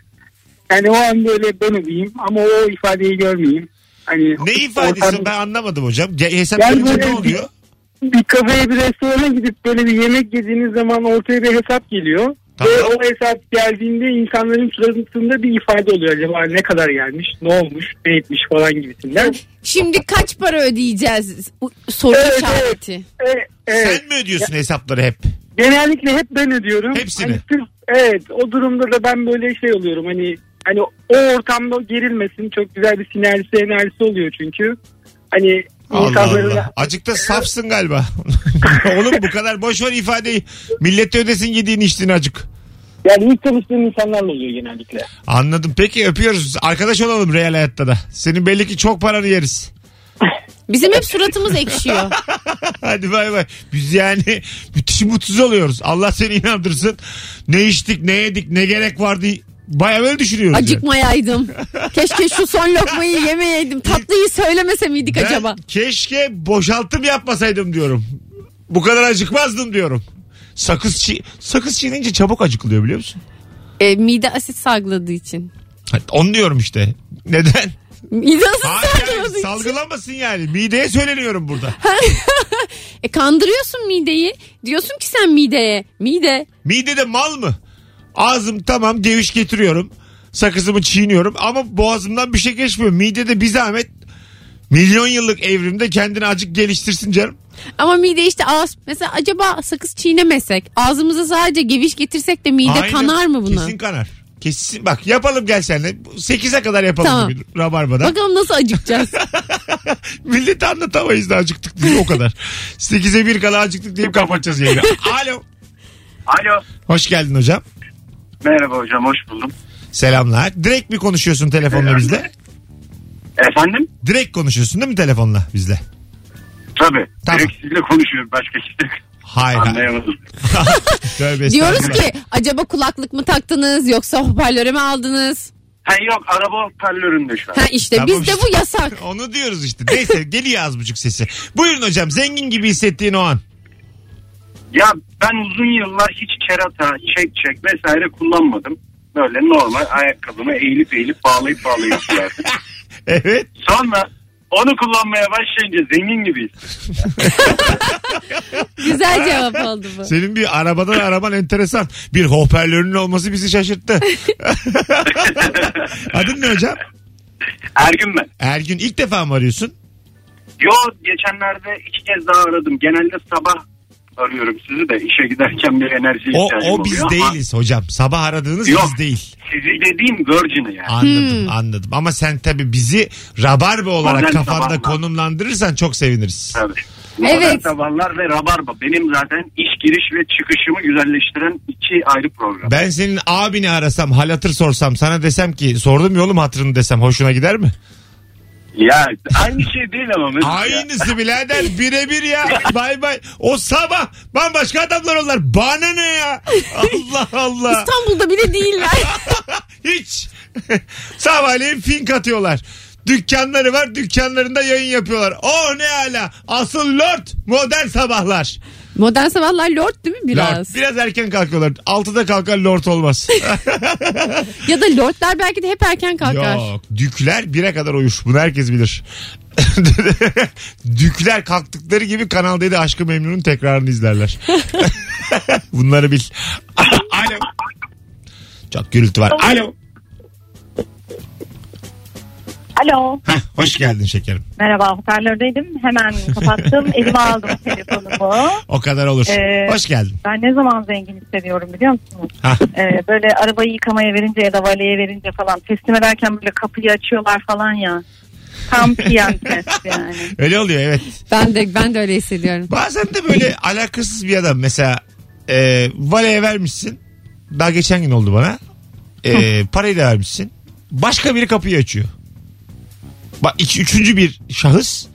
yani o an böyle ben ödeyeyim ama o ifadeyi görmeyeyim. Hani
Ne ifadesi
ortam-
ben anlamadım hocam. Ce- Hesap
Yani
görünce
böyle
ne oluyor?
bir kafeye bir restorana gidip böyle bir yemek yediğiniz zaman ortaya bir hesap geliyor.
Tamam.
Ve o hesap geldiğinde insanların suratında bir ifade oluyor. Acaba ne kadar gelmiş, ne olmuş, ne etmiş falan gibisinden.
Şimdi kaç para ödeyeceğiz? Bu Soru
Evet,
işareti.
E, evet.
Sen mi ödüyorsun hesapları hep?
Genellikle hep ben ödüyorum.
Hepsini.
Hani sırf, evet o durumda da ben böyle şey oluyorum hani hani o ortamda gerilmesin çok güzel bir sinerjisi enerjisi oluyor çünkü. Hani
Allah
insanların
Allah. Azıcık da safsın galiba. (laughs) Oğlum bu kadar boş ver ifadeyi. Millet de ödesin yediğin içtiğin acık.
yani ilk tanıştığım insanlarla oluyor genellikle.
Anladım. Peki öpüyoruz. Arkadaş olalım real hayatta da. Senin belli ki çok paranı yeriz.
Bizim hep
(laughs)
suratımız ekşiyor.
Hadi bay bay. Biz yani (laughs) müthiş mutsuz oluyoruz. Allah seni inandırsın. Ne içtik, ne yedik, ne gerek vardı. Baya böyle düşünüyoruz. yani.
Acıkmayaydım. Keşke şu son lokmayı yemeyeydim. Tatlıyı söylemese miydik
Ben
acaba?
keşke boşaltım yapmasaydım diyorum. Bu kadar acıkmazdım diyorum. Sakız çi sakız çiğnince çabuk acıkılıyor biliyor musun?
E, mide asit salgıladığı için.
Ha, Onu diyorum işte. Neden?
Mide asit
Hayır,
salgıladığı için.
salgılamasın yani. Mideye söyleniyorum burada.
E, kandırıyorsun mideyi. Diyorsun ki sen mideye. Mide.
Midede mal mı? Ağzım tamam geviş getiriyorum. Sakızımı çiğniyorum ama boğazımdan bir şey geçmiyor. Midede bir zahmet Milyon yıllık evrimde kendini acık geliştirsin canım.
Ama mide işte ağız. Mesela acaba sakız çiğnemesek ağzımıza sadece geviş getirsek de mide
Aynen.
kanar mı buna?
Kesin kanar. Kesin bak yapalım gel senle. 8'e kadar yapalım
Tamam.
bir rabarbada. (laughs)
Bakalım nasıl acıkacağız.
Milleti anlatamayız da acıktık diye o kadar. 8'e 1 kala acıktık deyip kapatacağız yayını.
(laughs)
Alo.
Alo.
Hoş geldin hocam.
Merhaba hocam hoş buldum.
Selamlar. Direkt mi konuşuyorsun telefonla
Selam.
bizle?
Efendim?
Direkt konuşuyorsun değil mi telefonla bizle?
Tabii.
Tamam.
Direkt sizinle konuşuyorum. Başka kimse
Hayır. hayır.
anlayamadım.
Tövbe
Diyoruz
estağfurullah.
ki acaba kulaklık mı taktınız yoksa hoparlöre mi aldınız?
Ha yok araba hoparlöründe şu an.
Ha işte
Tamam
bizde
işte.
bu yasak.
Onu diyoruz işte. Neyse geliyor az buçuk sesi. Buyurun hocam zengin gibi hissettiğin o an.
Ya ben uzun yıllar hiç kerata, çek çek vesaire kullanmadım. Böyle normal ayakkabımı eğilip eğilip bağlayıp bağlayıp sürerdim.
Evet.
Sonra onu kullanmaya başlayınca zengin gibiyiz.
(laughs)
Güzel cevap oldu bu.
Senin bir arabadan araban enteresan. Bir hoparlörünün olması bizi
(laughs)
şaşırttı. Adın ne hocam?
Ergün ben.
Ergün ilk defa mı arıyorsun?
Yo geçenlerde iki kez daha aradım. Genelde sabah arıyorum sizi de işe giderken bir enerji
O,
ihtiyacım
o biz
oluyor ama
değiliz hocam. Sabah aradığınız
Yok.
biz değil.
Sizi dediğim Virgin'i yani.
Anladım anladım. Ama sen tabii bizi rabarbe olarak
Modern
kafanda
sabahlar.
konumlandırırsan çok seviniriz.
Tabii.
Evet.
Evet. Sabahlar ve Rabarba benim zaten iş giriş ve çıkışımı güzelleştiren iki ayrı program.
Ben senin abini arasam hal hatır sorsam sana desem ki sordum yolum hatırını desem hoşuna gider mi?
Ya aynı şey değil ama mesela.
Aynısı birader birebir ya. Bay bay. O sabah bambaşka adamlar onlar. Bana ne ya? Allah Allah.
İstanbul'da bile değiller.
(laughs) Hiç. Sabahleyin fink atıyorlar. Dükkanları var dükkanlarında yayın yapıyorlar. Oh ne ala. Asıl lord modern sabahlar.
(laughs) Modern sabahlar lord değil mi biraz?
Lord. Biraz erken kalkıyorlar. Altıda kalkar lord olmaz.
Ya da lordlar belki de hep erken kalkar.
Yok. Dükler bire kadar uyur. Bunu herkes bilir. (laughs) Dükler kalktıkları gibi Kanal D'de Aşkı Memnun'un tekrarını izlerler. (laughs) Bunları bil. (laughs) Alo. Çok gürültü var. Alo.
Alo.
Heh, hoş geldin şekerim.
Merhaba hoparlördeydim. Hemen
(laughs)
kapattım. elime aldım telefonumu.
O kadar olur.
Ee,
hoş geldin.
Ben ne zaman zengin hissediyorum biliyor musunuz?
Hah.
Ee, böyle arabayı yıkamaya verince ya da valeye verince falan teslim ederken böyle kapıyı açıyorlar falan ya. Tam piyantes yani.
Öyle oluyor evet.
Ben de ben de öyle hissediyorum.
Bazen de böyle alakasız bir adam mesela e, valeye vermişsin. Daha geçen gün oldu bana. E, parayı da vermişsin. Başka biri kapıyı açıyor. Bak iki, üçüncü bir şahıs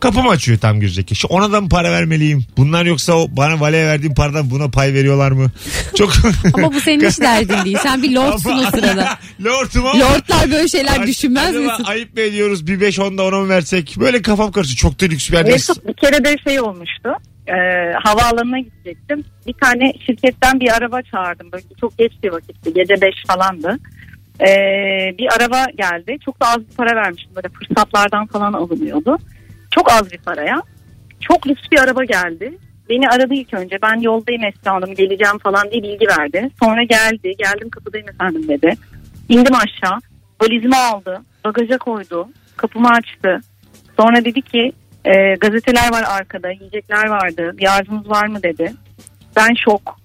kapımı açıyor tam girecek. Şu ona da mı para vermeliyim? Bunlar yoksa o bana valeye verdiğim paradan buna pay veriyorlar mı? Çok
Ama bu senin hiç derdin değil. Sen bir (laughs) lordsun
(laughs)
o sırada.
Lordum ama.
Lordlar böyle şeyler
Ay-
düşünmez
acaba
misin?
Ayıp mı ediyoruz? Bir 5 10'da ona mı versek? Böyle kafam karışıyor. Çok da lüks bir yerdeyiz.
Mesut bir kere de şey olmuştu. E, havaalanına gidecektim. Bir tane şirketten bir araba çağırdım. Böyle çok geç bir vakitti. Gece 5 falandı. E, bir araba geldi. Çok da az bir para vermiştim. Böyle fırsatlardan falan alınıyordu. Çok az bir paraya. Çok lüks bir araba geldi. Beni aradı ilk önce. Ben yoldayım Esra Hanım geleceğim falan diye bilgi verdi. Sonra geldi. Geldim kapıdayım efendim dedi. İndim aşağı. Valizimi aldı. Bagaja koydu. Kapımı açtı. Sonra dedi ki e, gazeteler var arkada, yiyecekler vardı. Bir arzunuz var mı dedi. Ben
(laughs)
şok.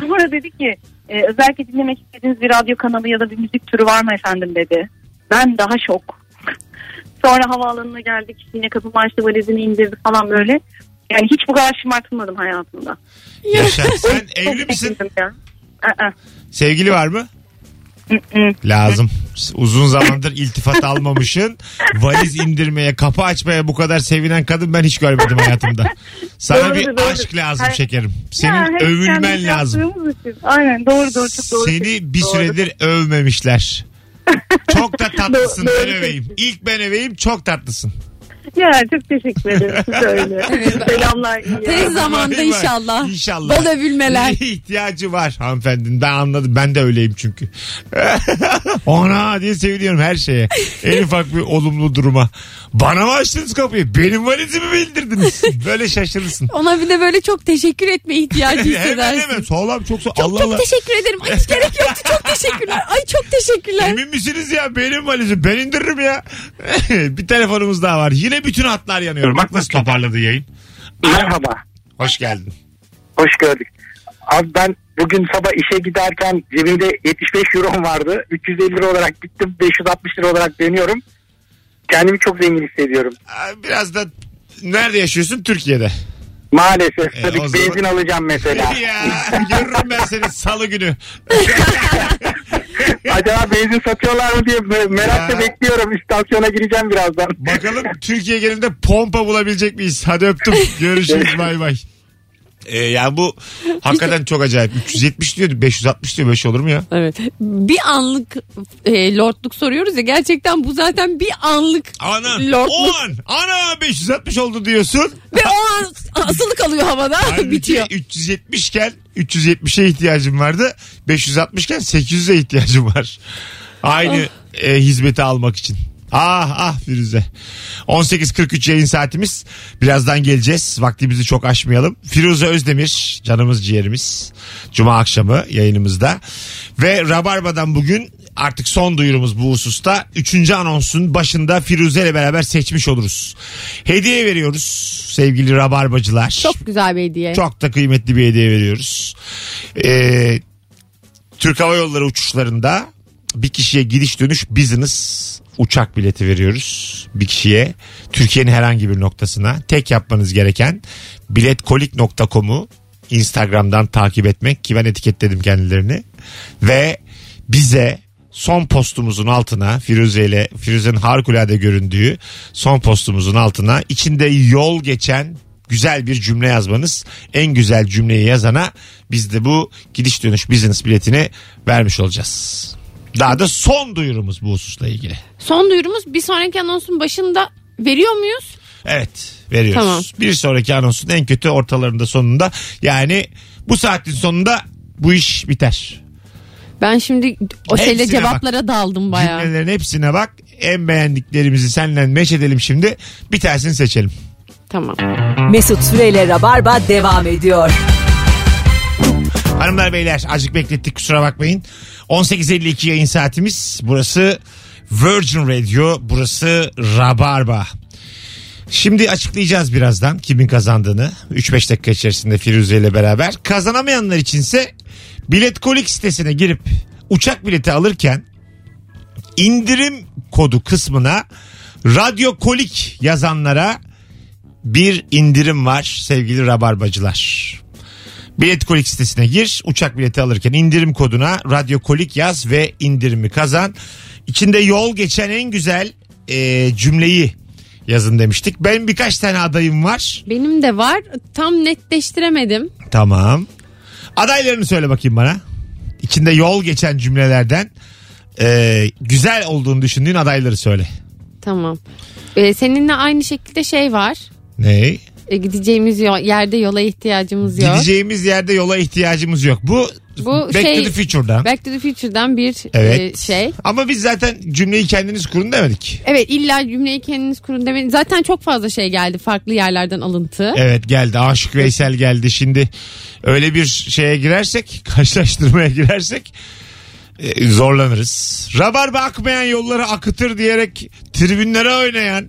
Sonra dedi ki e, özellikle dinlemek istediğiniz bir radyo kanalı ya da bir müzik türü var mı efendim dedi. Ben daha şok. (laughs) Sonra havaalanına geldik. Yine kapımı açtı valizini indirdi falan böyle. Yani hiç bu kadar şımartılmadım hayatımda.
Yaşa. Sen evli
Çok
misin?
sevindim ya. Aa,
Sevgili var mı?
ı-ı.
Lazım. Uzun zamandır iltifat almamışın. Valiz indirmeye, kapı açmaya bu kadar sevinen kadın ben hiç görmedim hayatımda. Sana
Doğru,
bir
doğru.
aşk lazım
Ay-
şekerim.
Ya,
Senin
hep
övülmen
kendimiz
lazım.
yaptığımız için. Aynen doğru doğru çok doğru.
Seni bir
Doğru.
süredir övmemişler. Çok da tatlısın
(laughs) Doğru,
ben
doğru.
öveyim. İlk ben öveyim çok tatlısın.
Ya çok teşekkür ederim. Siz de öyle. Selamlar. iyi
Tez
yayınlar.
zamanda
Vay vay.
inşallah.
İnşallah.
Bol
(laughs)
övülmeler.
İhtiyacı var hanımefendinin. Ben anladım. Ben de öyleyim çünkü. (laughs) Ona diye seviniyorum her şeye. En ufak bir olumlu duruma. Bana mı açtınız kapıyı? Benim valizimi mi indirdiniz? Böyle
(laughs)
şaşırırsın.
Ona bir de böyle çok teşekkür etme
(laughs)
ihtiyacı
hemen hemen.
hissedersin.
Sağlam çok sağ.
şey Çok
Allah
çok
Allah.
teşekkür ederim. Ay hiç gerek yoktu. Çok teşekkürler. Ay çok teşekkürler.
Emin misiniz ya benim valizim ben indiririm ya. (laughs) bir telefonumuz daha var. Yine bütün hatlar yanıyor. Bak nasıl toparladı yayın.
Merhaba.
Hoş geldin.
Hoş gördük. Abi ben bugün sabah işe giderken cebimde 75 euro vardı. 350 lira olarak gittim. 560 lira olarak dönüyorum. Kendimi çok zengin hissediyorum.
Aa, Biraz da nerede yaşıyorsun? Türkiye'de.
Maalesef.
E,
tabii
o zaman-
benzin
(laughs)
alacağım mesela.
ya görürüm ben seni salı günü.
Acaba benzin satıyorlar mı diye me-
Ya.
merakla bekliyorum. İstasyona gireceğim birazdan.
Bakalım Türkiye genelinde pompa bulabilecek miyiz? Hadi öptüm. Görüşürüz bay bay. Ee, yani bu hakikaten çok acayip. 370 diyordu 560 diyor böyle şey olur mu ya?
Evet. Bir anlık e, lordluk soruyoruz ya. Gerçekten bu zaten bir anlık
Ana
lordluk.
o an ana 560 oldu diyorsun.
Ve o an asılı kalıyor havada.
Halbuki
bitiyor.
370 iken 370'e ihtiyacım vardı. 560 iken 800'e ihtiyacım var. Aynı
Ah.
e, hizmeti almak için. Ah ah Firuze. 18.43 yayın saatimiz. Birazdan geleceğiz. Vaktimizi çok aşmayalım. Firuze Özdemir canımız ciğerimiz. Cuma akşamı yayınımızda. Ve Rabarba'dan bugün artık son duyurumuz bu hususta. Üçüncü anonsun başında Firuze ile beraber seçmiş oluruz. Hediye veriyoruz sevgili Rabarbacılar.
Çok güzel bir hediye.
Çok da kıymetli bir hediye veriyoruz. Ee, Türk Hava Yolları uçuşlarında bir kişiye gidiş dönüş business uçak bileti veriyoruz. Bir kişiye Türkiye'nin herhangi bir noktasına tek yapmanız gereken biletkolik.com'u Instagram'dan takip etmek ki ben etiketledim kendilerini ve bize son postumuzun altına Firuze ile Firuze'nin harikulade göründüğü son postumuzun altına içinde yol geçen güzel bir cümle yazmanız en güzel cümleyi yazana biz de bu gidiş dönüş business biletini vermiş olacağız. Daha da son duyurumuz bu hususla ilgili.
Son duyurumuz bir sonraki anonsun başında veriyor muyuz?
Evet veriyoruz.
Tamam.
Bir sonraki anonsun en kötü ortalarında sonunda yani bu saatin sonunda bu iş biter.
Ben şimdi o şeyle
Hepsine
cevaplara daldım bayağı.
Cümlelerin hepsine bak. En beğendiklerimizi seninle meç edelim şimdi. Bir tanesini seçelim.
Tamam.
Mesut Süreyle Rabarba devam ediyor.
Hanımlar beyler azıcık beklettik kusura bakmayın. 18.52 yayın saatimiz. Burası Virgin Radio. Burası Rabarba. Şimdi açıklayacağız birazdan kimin kazandığını. 3-5 dakika içerisinde Firuze ile beraber. Kazanamayanlar içinse biletkolik sitesine girip uçak bileti alırken indirim kodu kısmına radyo kolik yazanlara bir indirim var sevgili rabarbacılar. Biletkolik sitesine gir. Uçak bileti alırken indirim koduna Radyo Kolik yaz ve indirimi kazan. İçinde yol geçen en güzel e, cümleyi yazın demiştik. Benim birkaç tane adayım var.
Benim de var. Tam netleştiremedim.
Tamam. Adaylarını söyle bakayım bana. İçinde yol geçen cümlelerden e, güzel olduğunu düşündüğün adayları söyle.
Tamam. Ee, seninle aynı şekilde şey var.
Ne?
Ee, gideceğimiz yo- yerde yola ihtiyacımız yok.
Gideceğimiz yerde yola ihtiyacımız yok. Bu,
Bu
Back
şey-
to the Future'dan.
Back to the Future'dan bir
Evet.
e, şey.
Ama biz zaten cümleyi kendiniz kurun demedik.
Evet illa cümleyi kendiniz kurun demeyin. Zaten çok fazla şey geldi farklı yerlerden alıntı.
Evet geldi. Aşık Veysel geldi. Şimdi öyle bir şeye girersek, (laughs) karşılaştırmaya girersek e, zorlanırız. Rabarba akmayan yolları akıtır diyerek tribünlere oynayan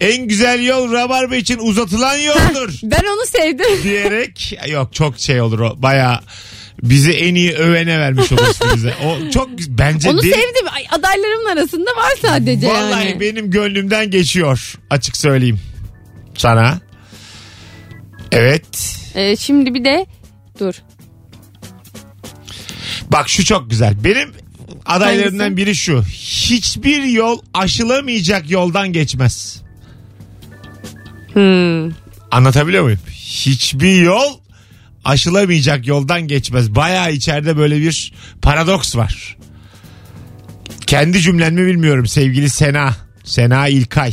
en güzel yol rabarba için uzatılan
(laughs)
yoldur
Ben onu sevdim.
diyerek yok çok şey olur o baya bizi en iyi övene vermiş olursun bize. O çok bence
onu
değil.
sevdim. Ay, adaylarımın arasında var sadece
Vallahi
yani.
benim gönlümden geçiyor açık söyleyeyim sana. Evet.
Ee, şimdi bir de dur.
Bak şu çok güzel. Benim adaylarından
Hangisi?
biri şu. Hiçbir yol aşılamayacak yoldan geçmez.
Hmm.
Anlatabiliyor muyum? Hiçbir yol aşılamayacak yoldan geçmez. Bayağı içeride böyle bir paradoks var. Kendi cümlenmi bilmiyorum sevgili Sena. Sena İlkay.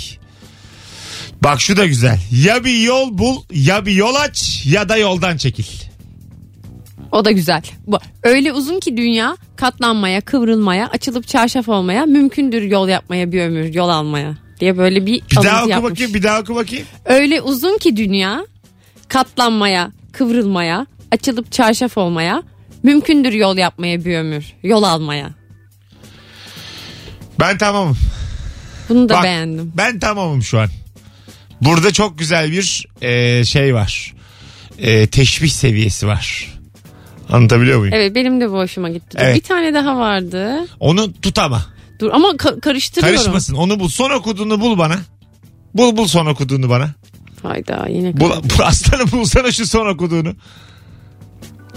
Bak şu da güzel. Ya bir yol bul ya bir yol aç ya da yoldan çekil.
O da güzel. Bu, öyle uzun ki dünya katlanmaya, kıvrılmaya, açılıp çarşaf olmaya, mümkündür yol yapmaya bir ömür, yol almaya diye böyle bir
Bir daha
alıntı
oku
yapmış.
bakayım bir daha oku bakayım.
Öyle uzun ki dünya katlanmaya, kıvrılmaya, açılıp çarşaf olmaya, mümkündür yol yapmaya bir ömür, yol almaya.
Ben tamamım.
Bunu da
Bak,
beğendim.
Ben tamamım şu an. Burada çok güzel bir e, şey var. E, teşbih seviyesi var. Anlatabiliyor muyum?
Evet benim de bu hoşuma gitti. Dur,
Evet.
Bir tane daha vardı.
Onu tut ama.
Dur ama ka- karıştırıyorum.
Karışmasın. Onu bul. Son okuduğunu bul bana. Bul bul son okuduğunu bana.
Hayda yine
Bul, bul aslanım bulsana şu son okuduğunu.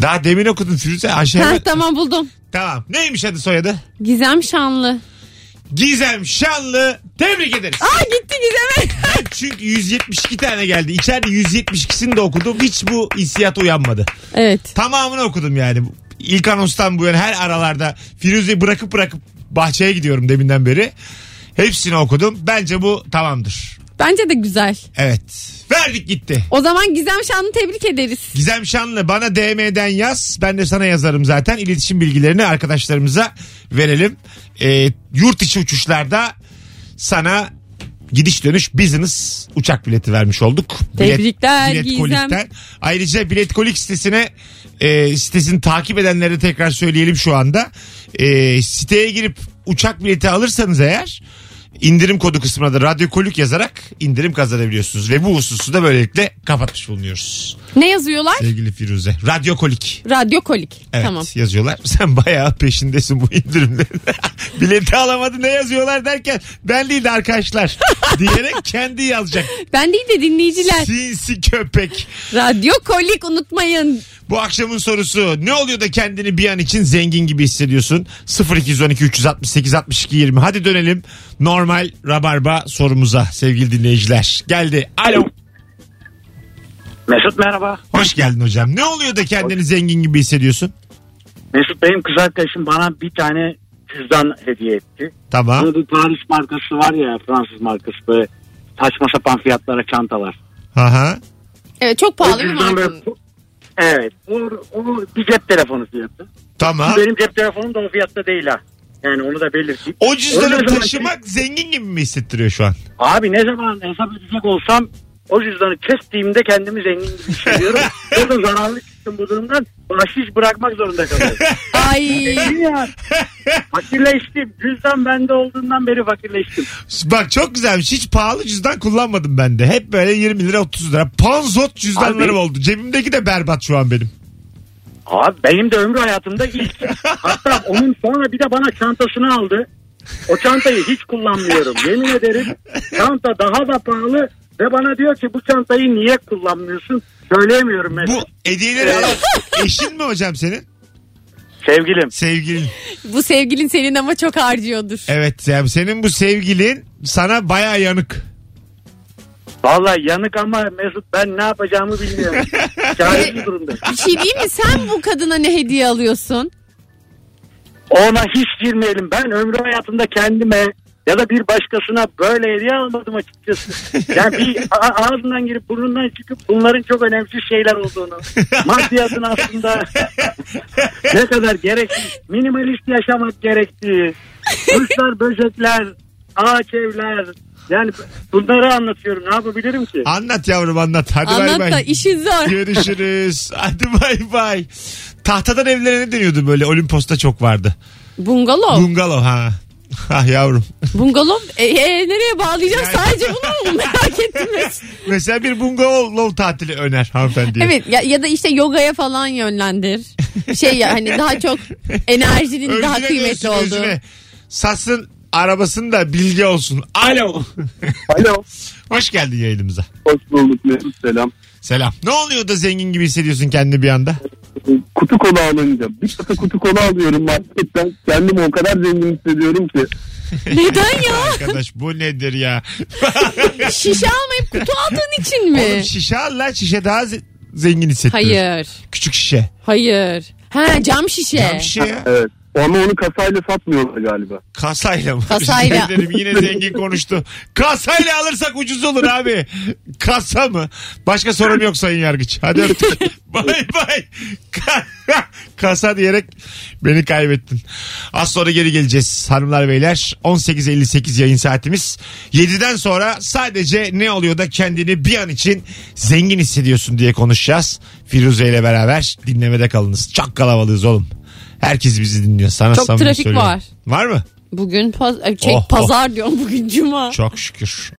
Daha demin okudun Firuze. Ayşe
Ha,
hemen-
tamam buldum.
Tamam. Neymiş adı soyadı?
Gizem Şanlı.
Gizem Şanlı. Tebrik ederiz.
Aa gitti Gizem'e.
(laughs) Çünkü 172 tane geldi. İçeride 172'sini de okudum. Hiç bu hissiyat uyanmadı.
evet.
Tamamını okudum yani. İlk anonstan bu yana her aralarda Firuze'yi bırakıp bırakıp bahçeye gidiyorum deminden beri. Hepsini okudum. Bence bu tamamdır.
Bence de güzel.
Evet. Verdik gitti.
O zaman Gizem Şanlı tebrik ederiz.
Gizem Şanlı bana DM'den yaz. Ben de sana yazarım zaten. İletişim bilgilerini arkadaşlarımıza verelim. Ee, yurt içi uçuşlarda sana gidiş dönüş business uçak bileti vermiş olduk. Bilet-
Tebrikler Gizem.
Kolik'ten. Ayrıca Bilet Kolik sitesine e, sitesini takip edenlere tekrar söyleyelim şu anda. E, siteye girip uçak bileti alırsanız eğer indirim kodu kısmına da radyo kolik yazarak indirim kazanabiliyorsunuz. Ve bu hususu da böylelikle kapatmış bulunuyoruz.
Ne yazıyorlar?
Sevgili Firuze. Radyo kolik.
Radyo Kolik.
Evet
Tamam.
yazıyorlar. (laughs) Sen bayağı peşindesin bu indirimlerin. (laughs) Bileti alamadı ne yazıyorlar derken ben değil de arkadaşlar diyerek kendi yazacak.
Ben değil de dinleyiciler.
Sinsi köpek.
Radyo Kolik unutmayın.
Bu akşamın sorusu ne oluyor da kendini bir an için zengin gibi hissediyorsun? 0212 368 62 20. Hadi dönelim normal rabarba sorumuza sevgili dinleyiciler. Geldi. Alo.
Mesut merhaba.
Hoş geldin hocam. Ne oluyor da kendini zengin gibi hissediyorsun?
(laughs) Mesut benim kız arkadaşım bana bir tane cüzdan hediye etti.
Tamam.
Burada bu Paris markası var ya Fransız markası böyle saçma sapan fiyatlara çantalar.
Aha.
Evet çok pahalı
O
bir
cüzdan
marka.
böyle- Evet. O, o bir cep telefonu fiyatı.
Tamam.
Benim cep telefonum da o fiyatta değil ha. Yani onu da belirteyim.
O
Onu ne
cüzdanı
zaman- şey-
taşımak zengin gibi mi hissettiriyor şu an?
Abi ne zaman hesap edecek olsam o cüzdanı kestiğimde kendimi zengin
(laughs)
gibi hissediyorum. Burada zararlı çıktım bu durumdan. Bahşiş bırakmak
(laughs)
zorunda kalıyorum.
Ay.
Değil ya. Fakirleştim. Cüzdan bende olduğundan beri fakirleştim.
Bak çok güzelmiş. Hiç pahalı cüzdan kullanmadım ben de. Hep böyle 20 lira 30 lira. Panzot cüzdanlarım
Abi-
oldu. Cebimdeki de berbat şu an benim.
Abi benim de ömrü hayatımda ilk. Hatta onun sonra bir de bana çantasını aldı. O çantayı hiç kullanmıyorum. Yemin ederim çanta daha da pahalı ve bana diyor ki bu çantayı niye kullanmıyorsun? Söyleyemiyorum mesela.
Bu hediyeleri
(laughs)
alan eşin mi hocam senin?
Sevgilim.
Sevgilin.
Bu sevgilin senin ama çok harcıyordur.
Evet yani senin bu sevgilin sana baya yanık.
Vallahi yanık ama Mesut ben ne yapacağımı bilmiyorum. Çaresiz durumda.
Bir şey diyeyim mi? Sen bu kadına ne hediye alıyorsun?
Ona hiç girmeyelim. Ben ömrü hayatımda kendime ya da bir başkasına böyle hediye almadım açıkçası. Yani bir a- ağzından girip burnundan çıkıp bunların çok önemsiz şeyler olduğunu. Maddiyatın aslında
(laughs)
ne kadar gerekli, minimalist yaşamak gerektiği, kuşlar, böcekler, ağaç evler. Yani bunları anlatıyorum. Ne yapabilirim ki?
Anlat yavrum anlat. Hadi bay
Anlat
bay.
da işin zor.
Görüşürüz. (laughs) Hadi bay bay. Tahtadan evlere ne deniyordu böyle? Olimpos'ta çok vardı.
Bungalov.
Bungalov ha. (laughs) Ah yavrum. (laughs)
Bungalov. E, e, nereye bağlayacağım? Sadece bunu mu merak ettim.
(laughs)
Mesut.
Mesela bir bungalov tatili öner hanımefendiye.
Evet ya, ya da işte yogaya falan yönlendir. Şey ya hani daha çok enerjinin
Özüne
daha kıymetli
görsün,
olduğu.
özüne. Satsın arabasını da bilgi olsun. Alo.
Alo.
Hoş geldin yayınımıza.
Hoş bulduk Mesut selam.
Selam. Ne oluyor da zengin gibi hissediyorsun kendini bir anda?
Kutu kola alınca bir kutu kutu kola alıyorum marketten. Kendimi o kadar zengin hissediyorum ki.
Neden ya?
(laughs) Arkadaş bu nedir ya?
Şişe almayıp kutu aldığın için mi?
Oğlum şişe al lan şişe daha ze- zengin hissettiriyor.
Hayır.
Küçük şişe.
Hayır. Ha cam şişe.
Cam şişe ya.
Evet.
Ama onu kasayla satmıyorlar galiba.
Kasayla mı? (laughs)
Kasayla.
Rica ederim, yine zengin konuştu. Kasayla alırsak ucuz olur abi. Kasa mı? Başka sorun yok sayın yargıç. Hadi
(laughs)
öptük. bay bay. Ka- (laughs) Kasa diyerek beni kaybettin. Az sonra geri geleceğiz hanımlar beyler. 18.58 yayın saatimiz. 7'den sonra sadece ne oluyor da kendini bir an için zengin hissediyorsun diye konuşacağız. Firuze ile beraber dinlemede kalınız. Çok kalabalığız oğlum. Herkes bizi dinliyor. Sana
Çok
samimi
trafik
söylüyorum.
var.
Var mı?
Bugün paz- ay, şey,
Oh, oh.
pazar diyorum bugün cuma.
Çok şükür.